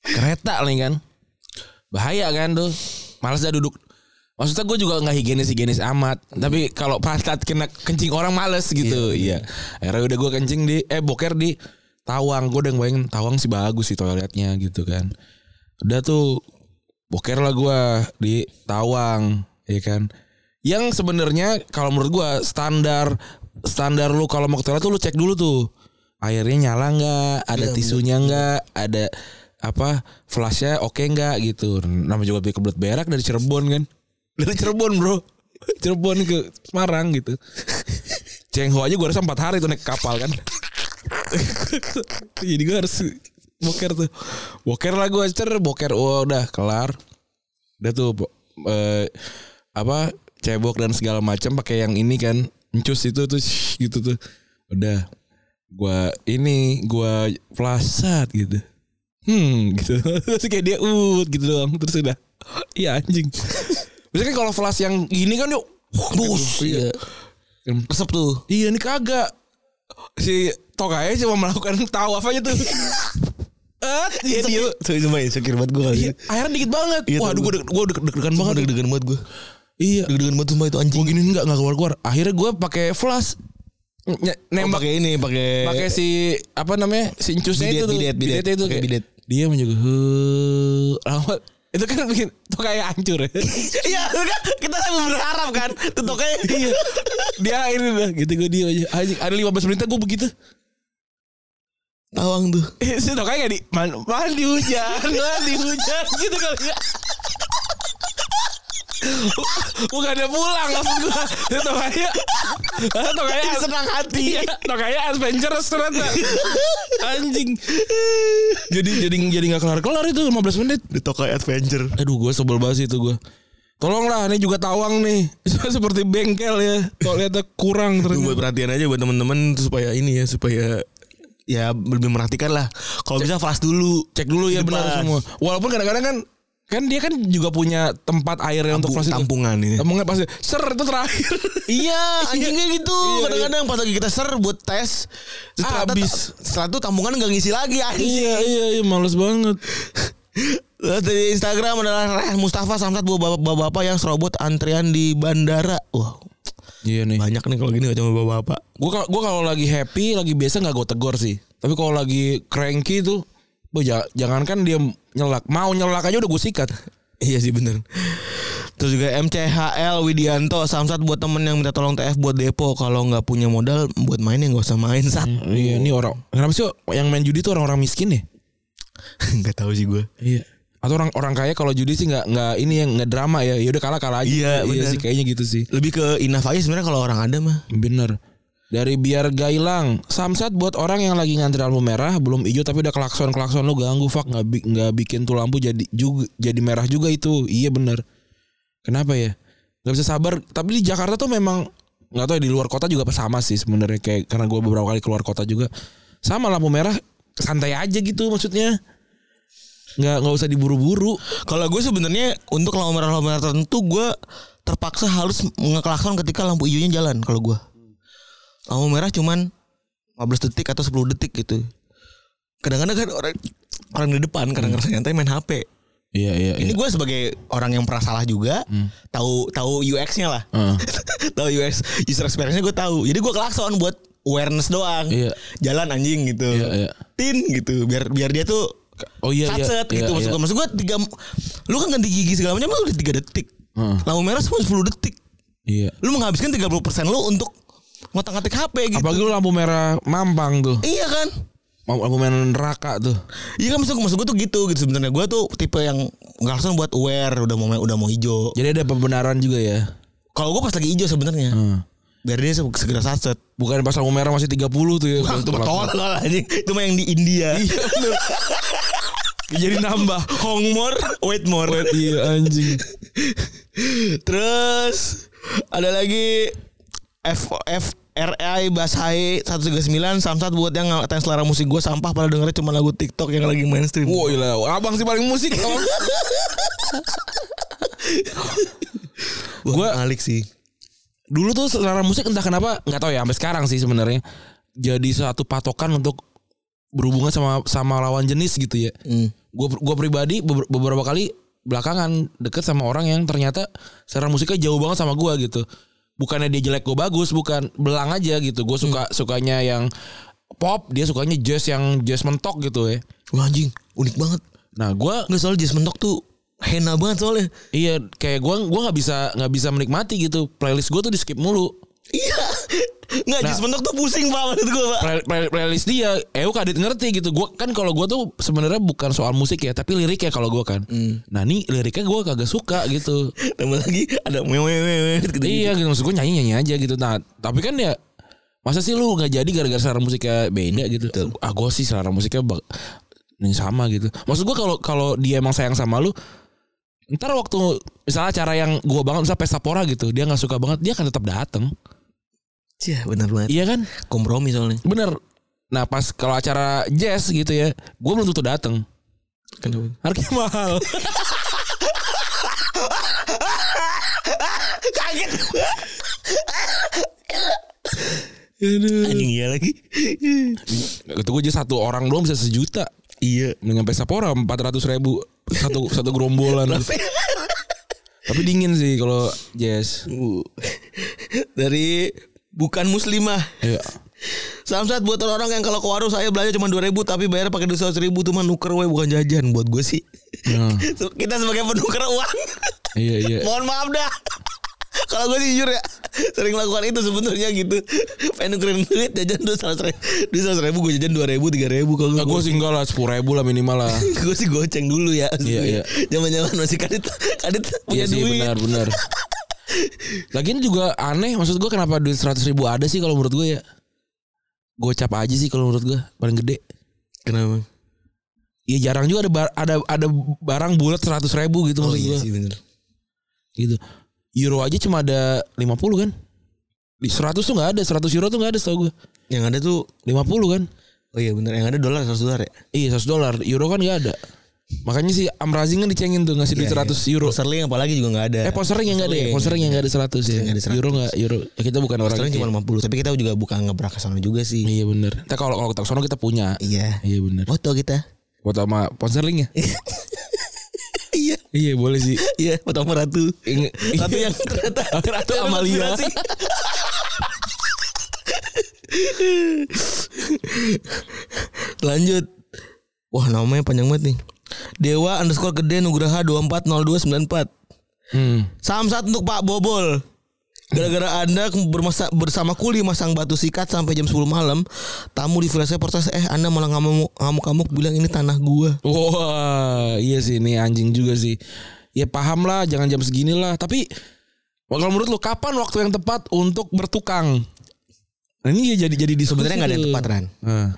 Kereta nih kan. Bahaya kan tuh. Males dah duduk. Maksudnya gue juga nggak higienis-higienis amat. Tapi kalau pantat kena kencing orang males gitu. Iya. Akhirnya udah gue kencing di eh boker di Tawang. Gue udah bayangin Tawang sih bagus sih toiletnya gitu kan. Udah tuh boker lah gue di Tawang, ya kan. Yang sebenarnya kalau menurut gue standar standar lu kalau mau ke toilet tuh lu cek dulu tuh airnya nyala nggak, ada tisunya nggak, ada apa flashnya oke nggak gitu. Nama juga beli kebelet berak dari Cirebon kan, dari Cirebon bro, Cirebon ke Semarang gitu. Cengho aja gue rasa empat hari tuh naik kapal kan. Jadi gue harus boker tuh. Boker lah gue cer, boker Wah, udah kelar. Udah tuh po- eh, apa cebok dan segala macam pakai yang ini kan. Encus itu tuh shh, gitu tuh. Udah gua ini gua flasat gitu. Hmm gitu. Terus kayak dia ut gitu doang terus udah. Iya anjing. Biasanya kan kalau flash yang gini kan yuk
Bus. Iya. Resep tuh.
Iya ini kagak Si Tokanya cuma melakukan tawaf aja tuh Eh dia dia
Sorry, sumpah ya, syukur banget gue.
Iya, Airnya dikit banget
Iya,
Waduh
tahu.
gue gue deg-degan banget
deg-degan banget gue.
Iya
Deg-degan banget sumpah itu anjing.
Gue gini nggak nggak keluar-keluar Akhirnya gue pakai flash Ny-
Oh,
Nembak
pakai ini, pakai
pakai si apa namanya si incusnya
Bidet,
itu tuh
bidet, bidet.
Bidetnya itu
Pakai
kayak,
bidet.
dia menjaga "Huh." lama itu kan bikin tuh kayak hancur ya
Iya, kan? kita sambil berharap kan. Tuh kayak
iya dia ini dah gitu gue dia aja Anjing, ada 15 menit gue begitu
tawang tuh.
Eh, Si tokanya gak di man, mandi hujan, mandi hujan gitu kali ya. Bukan dia pulang maksud gua. Si tokanya. ah, Tokanya
Dia senang hati.
Iya, tokanya adventurous ternyata. Anjing. Jadi jadi jadi gak kelar-kelar itu 15 menit.
Di Tokai Adventure.
Aduh gue sebel banget sih itu gue. Tolonglah ini juga tawang nih. Seperti bengkel ya. Toiletnya kurang
Itu
ternyata.
buat perhatian aja buat temen-temen supaya ini ya supaya ya lebih merhatikan lah. Kalau bisa flash dulu.
Cek dulu ya
Di
benar
depan.
semua. Walaupun kadang-kadang kan Kan dia kan juga punya tempat air yang untuk
Tampu-
flash itu.
tampungan ini.
Tampungan pasti. Ser itu terakhir.
Iya anjingnya gitu
Iya,
Kadang-kadang pas lagi kita serbut tes terus
Ah,
ternyata-
habis.
Setelah itu tampungan gak ngisi lagi anjing
iya iya iya males banget.
Terus Dari Instagram adalah Reh Mustafa Samsat dua bapak-bapak yang serobot antrian di bandara Wah
Iya nih.
banyak nih kalau gini gak cuma bapak-bapak
Gue gua kalau lagi happy, lagi biasa nggak gue tegur sih. Tapi kalau lagi cranky tuh, boh, ja- jangankan dia nyelak, mau nyelak aja udah gue sikat.
Iya sih bener Terus juga MCHL Widianto Samsat buat temen yang minta tolong TF buat depo Kalau nggak punya modal buat main ya nggak usah main Sat
Iya, ini orang. Kenapa sih yang main judi tuh orang-orang miskin ya?
Nggak tahu sih gue
Iya. Atau orang orang kaya kalau judi sih nggak nggak ini yang nggak drama ya. Ya udah kalah kalah aja.
Iya, benar.
sih kayaknya gitu sih.
Lebih ke inaf aja sebenarnya kalau orang ada mah
Bener. Dari biar gailang, samsat buat orang yang lagi ngantri lampu merah belum hijau tapi udah klakson klakson lu ganggu fuck nggak bi- nggak bikin tuh lampu jadi juga jadi merah juga itu. Iya bener. Kenapa ya? Gak bisa sabar. Tapi di Jakarta tuh memang nggak tahu ya, di luar kota juga sama sih sebenarnya kayak karena gue beberapa kali keluar kota juga sama lampu merah santai aja gitu maksudnya nggak nggak usah diburu-buru
Kalau gue sebenarnya untuk lampu merah lampu merah tertentu gue terpaksa harus ngeklakson ketika lampu hijaunya jalan kalau gue. Lampu merah cuman 15 detik atau 10 detik gitu. Kadang-kadang kan orang orang di depan kadang kadang nyantai main HP.
iya iya
Ini gue sebagai orang yang pernah salah juga, tahu tahu UX-nya lah.
Heeh.
tahu UX user experience-nya gue tahu. Jadi gue klakson buat awareness doang.
Iya.
Jalan anjing gitu.
Iya, iya.
Tin gitu biar biar dia tuh
oh iya iya
Satset gitu
iya,
maksud
iya.
gue. Maksud gue tiga, lu kan ganti gigi segala macam lu udah tiga detik.
Heeh.
Lampu merah semua 10 detik.
Iya.
Lu menghabiskan 30% lu untuk ngotak-ngatik HP gitu.
Apalagi lu lampu merah mampang tuh.
Iya kan?
Lampu lampu merah neraka tuh.
Iya kan maksud, maksud gue tuh gitu gitu sebenarnya gue tuh tipe yang nggak langsung buat aware udah mau udah mau hijau.
Jadi ada pembenaran juga ya.
Kalau gue pas lagi hijau sebenarnya
Hmm.
biar dia se- segera satset.
Bukan pas lampu merah masih 30 tuh ya.
Itu
Pelan-
tolol anjing. Itu mah yang di India.
pelan. Jadi nambah.
Hongmore, wait more.
iya anjing.
Terus ada lagi F F RI Basai 139 Samsat buat yang ngatain selera musik gue sampah pada dengernya cuma lagu TikTok yang lagi mainstream.
Wah gila. Abang sih paling musik.
gue ngalik sih.
Dulu tuh selera musik entah kenapa nggak tahu ya sampai sekarang sih sebenarnya. Jadi satu patokan untuk berhubungan sama sama lawan jenis gitu ya.
Hmm.
gue gua pribadi beber- beberapa kali belakangan deket sama orang yang ternyata secara musiknya jauh banget sama gua gitu bukannya dia jelek gue bagus bukan belang aja gitu gue suka sukanya yang pop dia sukanya jazz yang jazz mentok gitu ya
Wah anjing unik banget.
nah gua
Nggak soal jazz mentok tuh hena banget soalnya.
iya kayak gua gua nggak bisa nggak bisa menikmati gitu playlist gue tuh di skip mulu
Iya. Nggak jazz mentok tuh pusing pak maksud gue pak.
Play- play- playlist dia eh kadit ngerti gitu gua kan kalau gua tuh sebenarnya bukan soal musik ya tapi liriknya kalau gua kan nah nih liriknya gua kagak suka gitu
Tambah lagi ada mewewewe.
Iya gitu maksud gue nyanyi nyanyi aja gitu. Nah tapi kan ya masa sih lu nggak jadi gara-gara selera musiknya beda gitu. Ah gue sih selera musiknya bak ini sama gitu. Maksud gue kalau kalau dia emang sayang sama lu ntar waktu misalnya acara yang gua banget misalnya pesta pora gitu dia nggak suka banget dia akan tetap datang
Iya benar banget.
iya kan
Kompromi soalnya.
bener nah pas kalau acara jazz gitu ya gua belum tentu datang
Kenapa?
harganya mahal
Kaget. Anjing iya lagi.
itu gue aja satu orang doang bisa sejuta
iya.
dengan pesta pora empat ratus ribu satu satu gerombolan tapi dingin sih kalau jazz
Uh. Dari bukan muslimah.
Iya.
Samsat buat orang yang kalau ke warung saya belanja cuma 2000 tapi bayar pakai duit 100 ribu tuh mah nuker we bukan jajan buat gue sih.
Nah,
Kita sebagai penuker uang.
iya iya.
Mohon maaf dah. Kalau gue sih jujur ya sering lakukan itu sebenarnya gitu. Pengen nukerin duit jajan duit 100 ribu. Duit 100 ribu gue jajan 2000 3000 kalau
Nah, gue sih enggak lah sepuluh ribu lah minimal lah.
gue sih goceng dulu ya.
Iya, iya.
Zaman-zaman masih kadit kadit
Iya
punya
sih
duit.
benar benar. Lagian juga aneh maksud gue kenapa duit seratus ribu ada sih kalau menurut gue ya. Gocap aja sih kalau menurut gue paling gede.
Kenapa?
Iya jarang juga ada bar- ada ada barang bulat seratus ribu gitu
Oh
maksud
iya
gue.
sih bener.
Gitu. Euro aja cuma ada 50 kan? Di 100 tuh nggak ada, 100 euro tuh nggak ada setahu gue.
Yang ada tuh
50 kan?
Oh iya bener yang ada dolar 100 dolar ya.
Iya 100 dolar, euro kan nggak ada. Makanya si Amrazing kan dicengin tuh ngasih duit 100 euro.
Iya, Posterling apalagi juga nggak ada.
Eh posternya yang enggak ada ya? Posternya yang enggak ada 100 ya.
nggak ada 100.
Euro enggak euro. Ya, kita bukan orang
Posterling
kaya.
cuma 50 Tapi kita juga bukan ngebrak ke sana juga sih
Iya benar. Tapi kalau kalau kita kesana kita punya.
Iya
Iya benar.
Foto kita
Foto sama posterling ya?
Iya
iya boleh sih.
Iya foto sama ratu
Ing-
Ratu yang ternyata
Ratu Amalia.
konspirasi. Lanjut Wah namanya panjang banget nih Dewa underscore gede Nugraha 240294
Hmm.
Salam satu untuk Pak Bobol. Gara-gara Anda bermasa- bersama kuli masang batu sikat sampai jam 10 malam, tamu di villa saya protes, eh Anda malah ngamuk- ngamuk-ngamuk bilang ini tanah gua.
Wah, iya sih ini anjing juga sih. Ya paham lah, jangan jam segini lah. Tapi kalau menurut lu kapan waktu yang tepat untuk bertukang? Nah, ini ya jadi jadi di
Sebenarnya nggak ada yang tepat Ran.
Nah,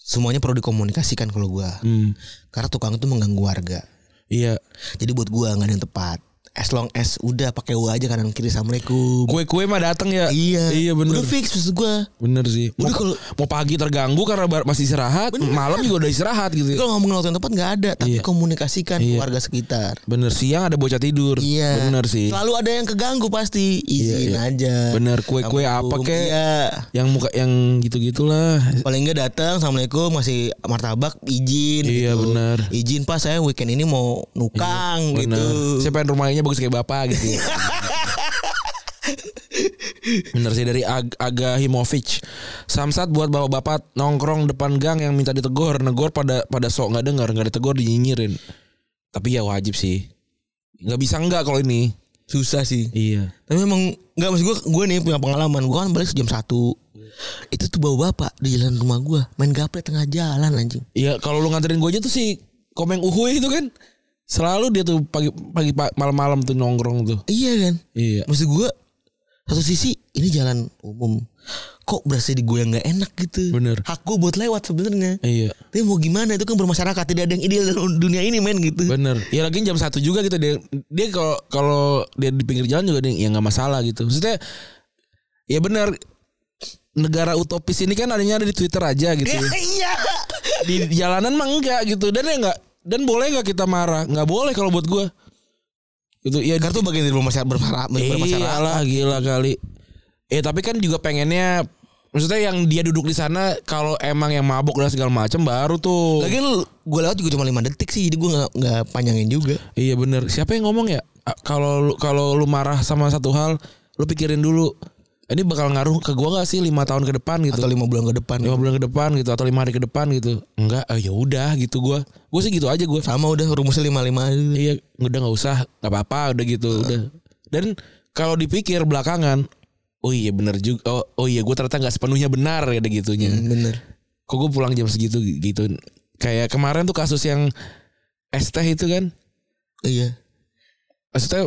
Semuanya perlu dikomunikasikan kalau gua.
hmm,
Karena tukang itu mengganggu warga.
iya.
Jadi buat gua nggak ada yang tepat. As long as udah pakai wa aja kanan kiri assalamualaikum.
Kue-kue mah datang ya.
iya.
Iya bener
Udah fix maksud gua.
Bener sih. Mau,
Udah kalau-
mau pagi terganggu karena bar- masih istirahat, malam juga udah istirahat
Jadi
gitu.
Kalau ngomongin waktu yang tepat nggak ada,
Iya.
tapi komunikasikan ke
Iya.
warga sekitar.
Bener siang ada bocah tidur.
Iya.
Bener sih.
Selalu ada yang keganggu pasti.
Iya,
Izin
iya.
aja.
Bener kue-kue apa
Assalamualaikum.
kek
Iya.
yang muka yang gitu-gitulah.
Paling enggak datang Assalamualaikum masih martabak izin
Iya,
gitu.
bener. Iya,
Izin pas saya weekend ini mau nukang
Bener.
gitu.
Saya pengen rumahnya bagus kayak bapak gitu. Bener sih dari Ag Aga Himovic. Samsat buat bapak-bapak nongkrong depan gang yang minta ditegur, negor pada pada sok nggak dengar, nggak ditegur dinyinyirin. Tapi ya wajib sih. Nggak bisa nggak kalau ini.
Susah sih.
Iya.
Tapi emang enggak maksud gua gua nih punya pengalaman. Gua kan balik jam 1. Itu tuh bawa bapak di jalan rumah gua main gaple tengah jalan anjing.
Iya, kalau lu nganterin gue aja tuh si Komeng Uhuy itu kan selalu dia tuh pagi pagi pa- malam-malam tuh nongkrong tuh.
Iya kan?
Iya.
Maksud gua satu sisi ini jalan umum. Kok berasa di gua yang enggak enak gitu.
Bener.
Hak gua buat lewat sebenarnya.
Iya.
Tapi mau gimana itu kan bermasyarakat tidak ada yang ideal dalam dunia ini men gitu.
Bener. Ya lagi jam satu juga gitu dia dia kalau kalau dia di pinggir jalan juga dia ya nggak masalah gitu. Maksudnya ya benar negara utopis ini kan adanya ada di Twitter aja gitu.
Iya, Iya.
Di jalanan mah enggak gitu. Dan ya enggak dan boleh nggak kita marah? Nggak boleh kalau buat gua. Gitu ya
Kartu bagian dari bermasyarakat bermasyarakat.
Iya
bermasyarakat.
lah gila kali. Eh tapi kan juga pengennya maksudnya yang dia duduk di sana kalau emang yang mabuk dan segala macam baru tuh.
Lagian gue lewat juga cuma 5 detik sih jadi gue nggak nggak panjangin juga.
Iya bener. Siapa yang ngomong ya? A- Kalau lu- kalau lu marah sama satu hal, lu pikirin dulu. Ini bakal ngaruh ke gua gak sih lima tahun ke depan gitu?
Atau 5 bulan ke depan.
lima bulan ke depan gitu atau lima hari ke depan gitu? Enggak, eh, ya udah gitu gua. Gua sih gitu aja gua.
Sama udah rumusnya 55 aja.
Iya, udah nggak usah, nggak apa-apa, udah gitu,
Ah.
udah. Dan kalau dipikir belakangan, oh iya bener juga, oh, oh iya gue ternyata nggak sepenuhnya benar ya ada gitunya.
Bener.
Kok gue pulang jam segitu gitu? Kayak kemarin tuh kasus yang es teh itu kan,
Iya.
maksudnya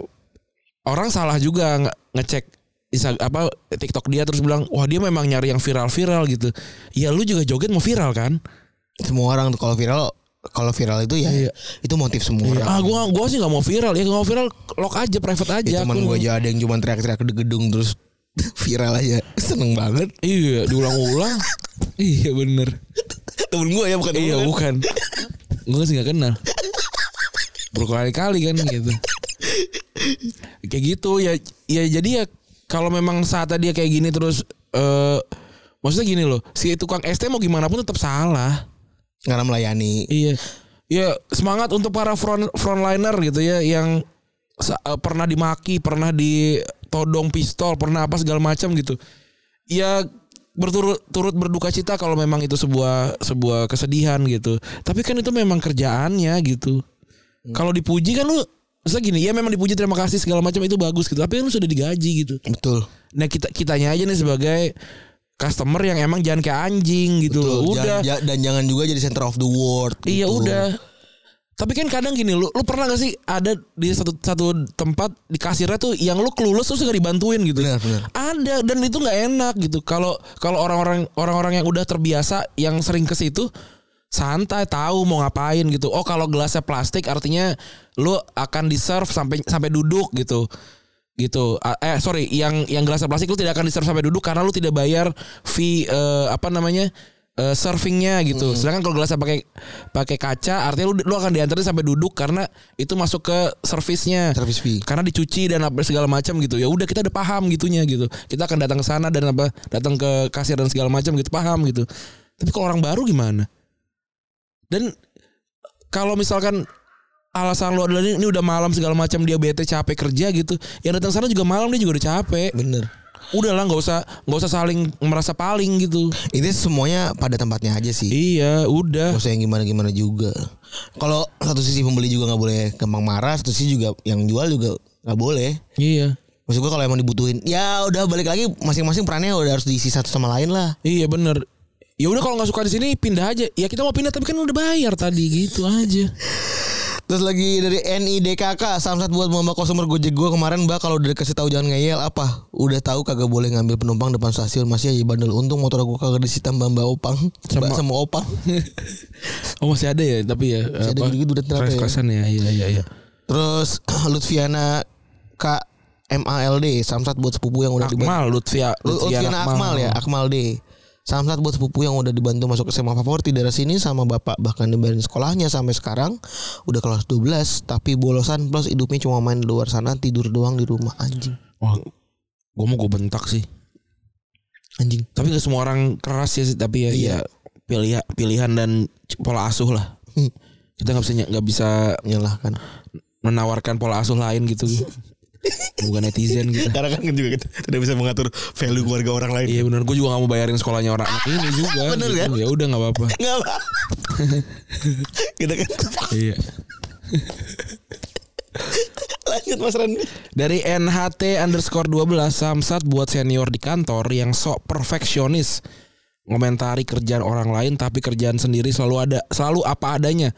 orang salah juga nge- ngecek Insta- apa TikTok dia terus bilang, wah dia memang nyari yang viral-viral gitu. Ya lu juga joget mau viral kan?
Semua orang tuh kalau viral kalau viral itu ya
Iya.
itu motif semua orang.
Ah gua gua sih nggak mau viral, ya nggak mau viral, lock aja private
Ya,
aja.
teman
akun
gue
lu.
aja ada yang cuma teriak-teriak di gedung terus viral aja. Seneng banget.
Iya, diulang-ulang. iya bener.
Temen gue ya bukan temen
Iya
lu kan.
bukan. Gue sih gak kenal. Berkali-kali kan gitu. Kayak gitu ya ya jadi ya kalau memang saatnya dia kayak gini terus eh maksudnya gini loh, si tukang ST mau gimana pun tetap salah.
Karena melayani.
Iya. Ya semangat untuk para front frontliner gitu ya yang sa- eh, pernah dimaki, pernah ditodong pistol, pernah apa segala macam gitu. Ya berturut-turut berduka cita kalau memang itu sebuah sebuah kesedihan gitu. Tapi kan itu memang kerjaannya gitu.
Hmm.
Kalau dipuji kan lu Maksudnya gini, ya memang dipuji terima kasih segala macam itu bagus gitu. Tapi kan lu sudah digaji gitu.
Betul.
Nah kita kitanya aja nih sebagai customer yang emang jangan kayak anjing gitu.
Betul.
Udah.
Jangan- ja- dan jangan juga jadi center of the world.
Iya
gitu.
udah. Tapi kan kadang gini lu lu pernah gak sih ada di satu satu tempat di kasirnya tuh yang lu kelulus terus gak dibantuin gitu.
Benar, benar.
Ada dan itu nggak enak gitu. Kalau kalau orang-orang orang-orang yang udah terbiasa yang sering ke situ santai tahu mau ngapain gitu. Oh kalau gelasnya plastik artinya lu akan diserve sampai sampai duduk gitu. Gitu. A- Eh sorry, yang yang gelasnya plastik lu tidak akan diserve sampai duduk karena lu tidak bayar fee eh, apa namanya? eh, surfingnya gitu. Sedangkan kalau gelasnya pakai pakai kaca, artinya lu lu akan diantarin sampai duduk karena itu masuk ke servisnya.
Service fee.
Karena dicuci dan apa segala macam gitu. Ya udah kita udah paham gitunya gitu. Kita akan datang ke sana dan apa datang ke kasir dan segala macam gitu paham gitu. Tapi kalau orang baru gimana? Dan kalau misalkan alasan lu adalah ini, ini udah malam segala macam dia bete capek kerja gitu. Yang datang sana juga malam dia juga udah capek.
Bener.
Udahlah nggak usah nggak usah saling merasa paling gitu.
Ini semuanya pada tempatnya aja sih.
Iya, udah.
Gak usah yang gimana-gimana juga. Kalau satu sisi pembeli juga nggak boleh gampang marah, satu sisi juga yang jual juga nggak boleh.
Iya.
Maksud gua kalau emang dibutuhin, ya udah balik lagi masing-masing perannya udah harus diisi satu sama lain lah.
Iya bener Ya udah kalau nggak suka di sini pindah aja. Ya kita mau pindah tapi kan udah bayar tadi gitu aja.
Terus lagi dari NIDKK Samsat buat mama konsumer Gojek gua kemarin Mbak kalau udah dikasih tahu jangan ngeyel apa Udah tahu kagak boleh ngambil penumpang depan stasiun Masih aja bandel Untung motor aku kagak disita mbak mbak opang Mbak sama opang
Oh masih ada ya tapi ya
Masih ada gitu-gitu udah ternyata ya.
keras-kerasan ya. Iya iya iya.
Terus Lutfiana K MALD Samsat buat sepupu yang udah dibantu
Akmal Lutfia
Lutfiana Akmal ya Akmal D Samsat buat sepupu yang udah dibantu masuk SMA favorit di daerah sini sama bapak bahkan nebarin sekolahnya sampai sekarang udah kelas 12 tapi bolosan plus hidupnya cuma main di luar sana tidur doang di rumah anjing
Wah, gue mau gue bentak sih.
anjing
Tapi nggak semua orang keras ya sih. Tapi ya,
Iya.
ya pilihan pilihan dan c- pola asuh lah.
Hmm.
Kita nggak bisa ny- nggak bisa
menyalahkan
menawarkan pola asuh lain gitu. Bukan netizen gitu.
karena kan juga kita tidak bisa mengatur value keluarga orang lain
Iya benar, gue juga gak mau bayarin sekolahnya orang anak ini juga.
Bener
gitu.
kan?
Ya udah nggak apa-apa.
nggak apa kita kan
Iya.
lanjut mas Randy
Dari NHT underscore 12 Samsat buat senior di kantor yang sok perfeksionis Ngomentari kerjaan orang lain tapi kerjaan sendiri selalu ada Selalu apa adanya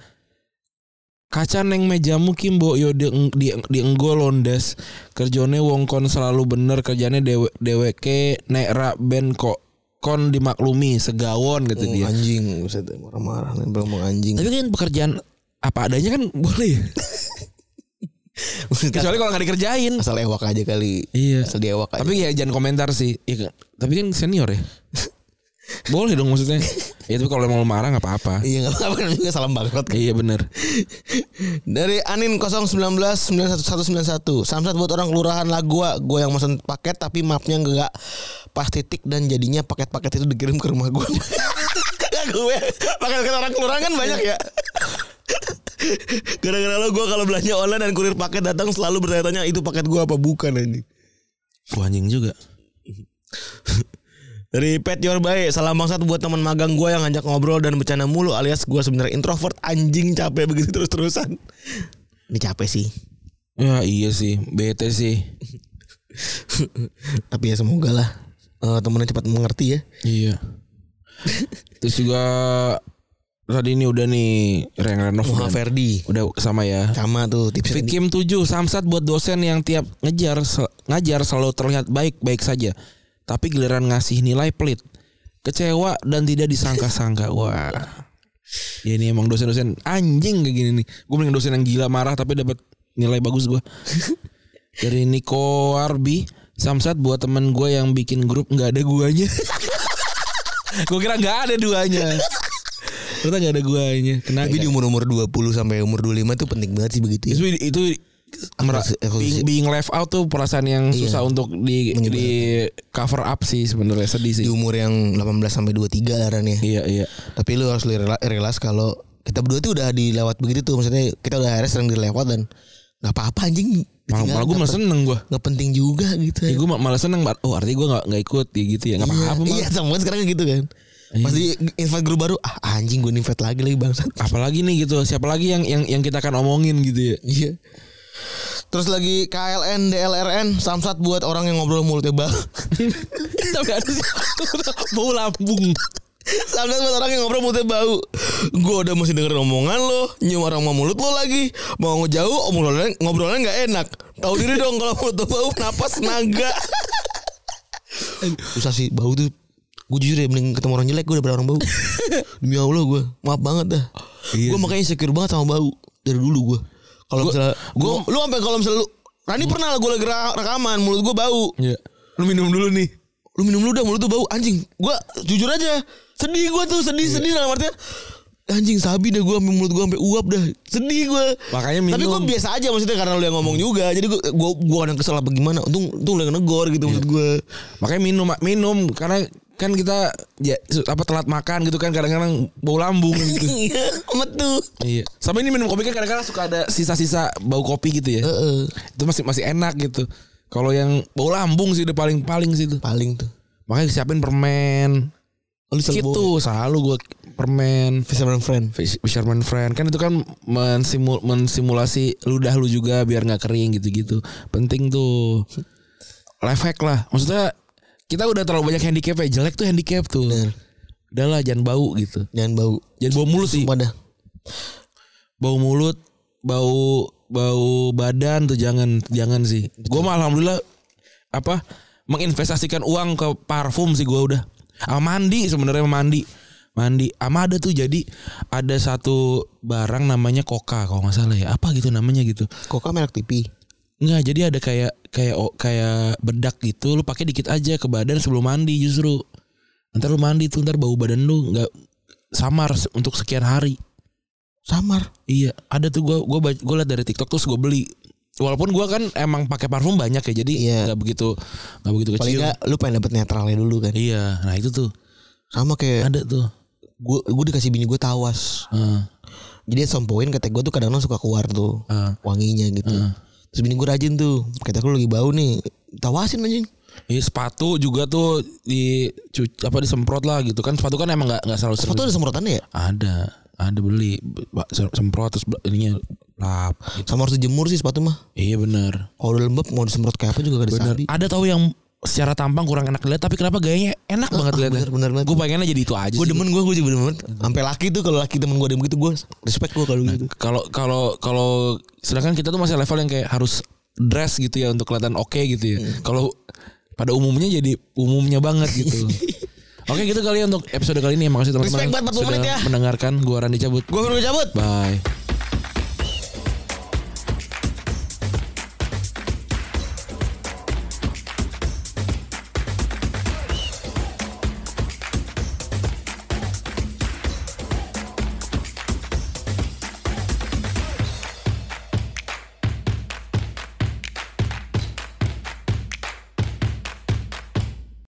Kaca neng mejamu kimbo yo di, di, dienggol londes Kerjone wong kon selalu bener kerjane dewe, deweke nek ra ben kok Kon dimaklumi segawon gitu dia
anjing buset marah-marah nih ngomong anjing
Tapi kan pekerjaan apa adanya kan boleh Kecuali kalau gak dikerjain
asal ewak aja kali
Iya.
asal diewak aja
Tapi ya jangan komentar sih. Iya, kan? tapi kan senior ya. Boleh dong maksudnya. ya tapi kalau mau marah nggak apa-apa.
iya nggak apa-apa namanya juga salam banget
Iya bener
Dari Anin 019-91191 Samsat buat orang kelurahan lah gua Gua yang mesen paket tapi mapnya nggak pas titik Dan jadinya paket-paket itu dikirim ke rumah gua Gak gue Paket-paket orang kelurahan kan banyak ya Gara-gara lo gua kalau belanja online dan kurir paket datang selalu bertanya-tanya itu paket gua apa bukan anjing.
Wah anjing juga.
Dari Pet Your Bae, salam bangsat buat teman magang gua yang ngajak ngobrol dan bercanda mulu alias gua sebenarnya introvert anjing capek begitu terus-terusan. Ini capek sih.
Ya iya sih, bete sih.
Tapi ya semoga lah eh, temennya cepat mengerti ya.
Iya. Terus juga tadi ini udah nih Ren Renov
Wah
kan?
Ferdi
udah sama ya.
sama tuh tipsnya. tadi.
Vikim 7 Samsat buat dosen yang tiap ngejar sel- ngajar selalu terlihat baik-baik saja. Tapi giliran ngasih nilai pelit. Kecewa dan tidak disangka-sangka. Wah. Ya ini emang dosen-dosen anjing kayak gini nih. Gue mending dosen yang gila marah tapi dapat nilai bagus gua. Dari Niko Arbi Samsat buat temen gue yang bikin grup nggak ada guanya. gue kira nggak ada duanya. Ternyata nggak ada guanya. Kena
Tapi di umur-umur 20 sampai umur 25 tuh penting banget sih begitu ya.
itu itu merasa
Evolusi.
being, being left out tuh perasaan yang susah untuk di
Iya. Menyebar.
di cover up sih sebenarnya sedih sih.
Di umur yang 18 sampai 23 lah Ran ya.
Iya iya.
Tapi lu harus rela- realize kalau kita berdua tuh udah dilewat begitu tuh maksudnya kita udah akhirnya sering dilewat dan nggak apa-apa anjing.
Malah, malah gue malah seneng gue.
Gak penting juga gitu.
Ya, gue malah seneng. Mbak. Oh artinya gue nggak nggak ikut ya gitu ya nggak
Iya,
apa-apa.
Iya,
malah.
sama kan sekarang gitu kan. Pas di invite grup baru, ah anjing gue invite lagi lagi bangsat.
Apalagi nih gitu siapa lagi yang yang yang kita akan omongin gitu ya.
Iya. Terus lagi KLN, DLRN, Samsat buat orang yang ngobrol mulutnya bal.
Tapi ada sih bau lambung.
Samsat buat orang yang ngobrol mulutnya bau. Gue udah masih dengerin omongan lo, nyium aroma mulut lo lagi. Mau ngejauh, obrolan ngobrolan nggak enak. Tahu diri dong kalau mulutnya bau, napas naga. Susah sih bau tuh. Gue jujur ya mending ketemu orang jelek gue daripada orang bau. Demi Allah gue, maaf banget dah.
Iya
gue
sih.
makanya insecure banget sama bau dari dulu gue. Kalau misalnya gue, lu sampai kalau misalnya lu Rani pernah lah gue lagi ra- rekaman mulut gue bau
Iya. Lu minum dulu nih.
lu minum lu dah mulut tuh bau anjing gua jujur aja sedih gue tuh
Iya.
sedih sedih dalam artinya anjing sabi deh gue mulut gue sampai uap dah sedih gue
Makanya
tapi gue
minum.
biasa aja maksudnya karena lu yang ngomong juga jadi gue gue gue kadang kesel apa gimana untung untung lu yang negor
Iya.
gitu maksud gue
Makanya minum minum karena kan kita ya, su- apa telat makan gitu kan kadang-kadang bau lambung gitu.
iya amat tuh
iya. Sama ini minum kopi kan kadang-kadang suka ada sisa-sisa bau kopi gitu ya.
Heeh.
Itu masih masih enak gitu. Kalau yang bau lambung sih udah paling-paling sih itu.
paling tuh Oh,
Makanya siapin permen.
lu selalu bohong.
Gitu selalu gue permen.
Fisherman friend
Fish- Fisherman friend kan itu kan mensimu- mensimulasi ludah lu juga biar nggak kering gitu-gitu. Penting tuh. Life hack lah. Maksudnya kita udah terlalu banyak handicap ya. Jelek tuh handicap tuh.
Bener.
Udahlah jangan bau gitu.
jangan bau
Jangan bau mulut sih.
pada
Bau mulut, bau bau badan tuh jangan jangan sih. Gue mah alhamdulillah apa menginvestasikan uang ke parfum sih gue udah. Ah, mandi sebenarnya mandi. Mandi ama ada tuh jadi ada satu barang namanya koka kalau nggak salah ya. Apa gitu namanya gitu.
koka merek TV
Enggak, jadi ada kayak kayak oh, kayak bedak gitu lu pakai dikit aja ke badan sebelum mandi justru. Ntar lu mandi tuh ntar bau badan lu nggak samar se- untuk sekian hari.
samar
Iya, ada tuh gua gua baca- gua liat dari TikTok terus gua beli. Walaupun gua kan emang pakai parfum banyak ya, jadi
Iya.
nggak begitu nggak begitu
paling
kecium.
enggak lu pengen dapet netralnya dulu kan
Iya, nah itu tuh
sama kayak
ada tuh.
gue gue dikasih bini gue tawas
Heeh.
Jadi sampoin ketek gue tuh kadang-kadang suka keluar tuh
Heeh.
wanginya gitu. Terus bini gue rajin tuh, ketek lu lagi bau nih, tawasin anjing.
Iya, sepatu juga tuh di apa disemprot lah gitu kan sepatu kan emang nggak nggak selalu sering.
Sepatu ada semprotannya ya?
Ada, ada beli ba- semprot terus bel- ininya lap.
Sama harus dijemur sih sepatu mah.
Iya bener
Kalau udah lembab mau disemprot kayak apa juga gak ada
Bener.
sabi.
Ada tahu yang secara tampang kurang enak dilihat tapi kenapa gayanya enak banget dilihatnya.
Ah, bener, bener banget.
Gue pengennya jadi itu aja
Gue
sih.
demen gue, gue juga demen. banget. Sampai laki tuh kalau laki temen gue demen gitu gue respect gue kalau gitu.
Kalau kalau kalau sedangkan kita tuh masih level yang kayak harus dress gitu ya untuk kelihatan oke gitu ya.
Hmm.
Kalau pada umumnya jadi umumnya banget gitu. oke gitu kali ya untuk episode kali ini. Makasih teman-teman
Respect banget 40
sudah
menit ya.
mendengarkan. Gua Randy cabut.
Gue baru cabut.
Bye.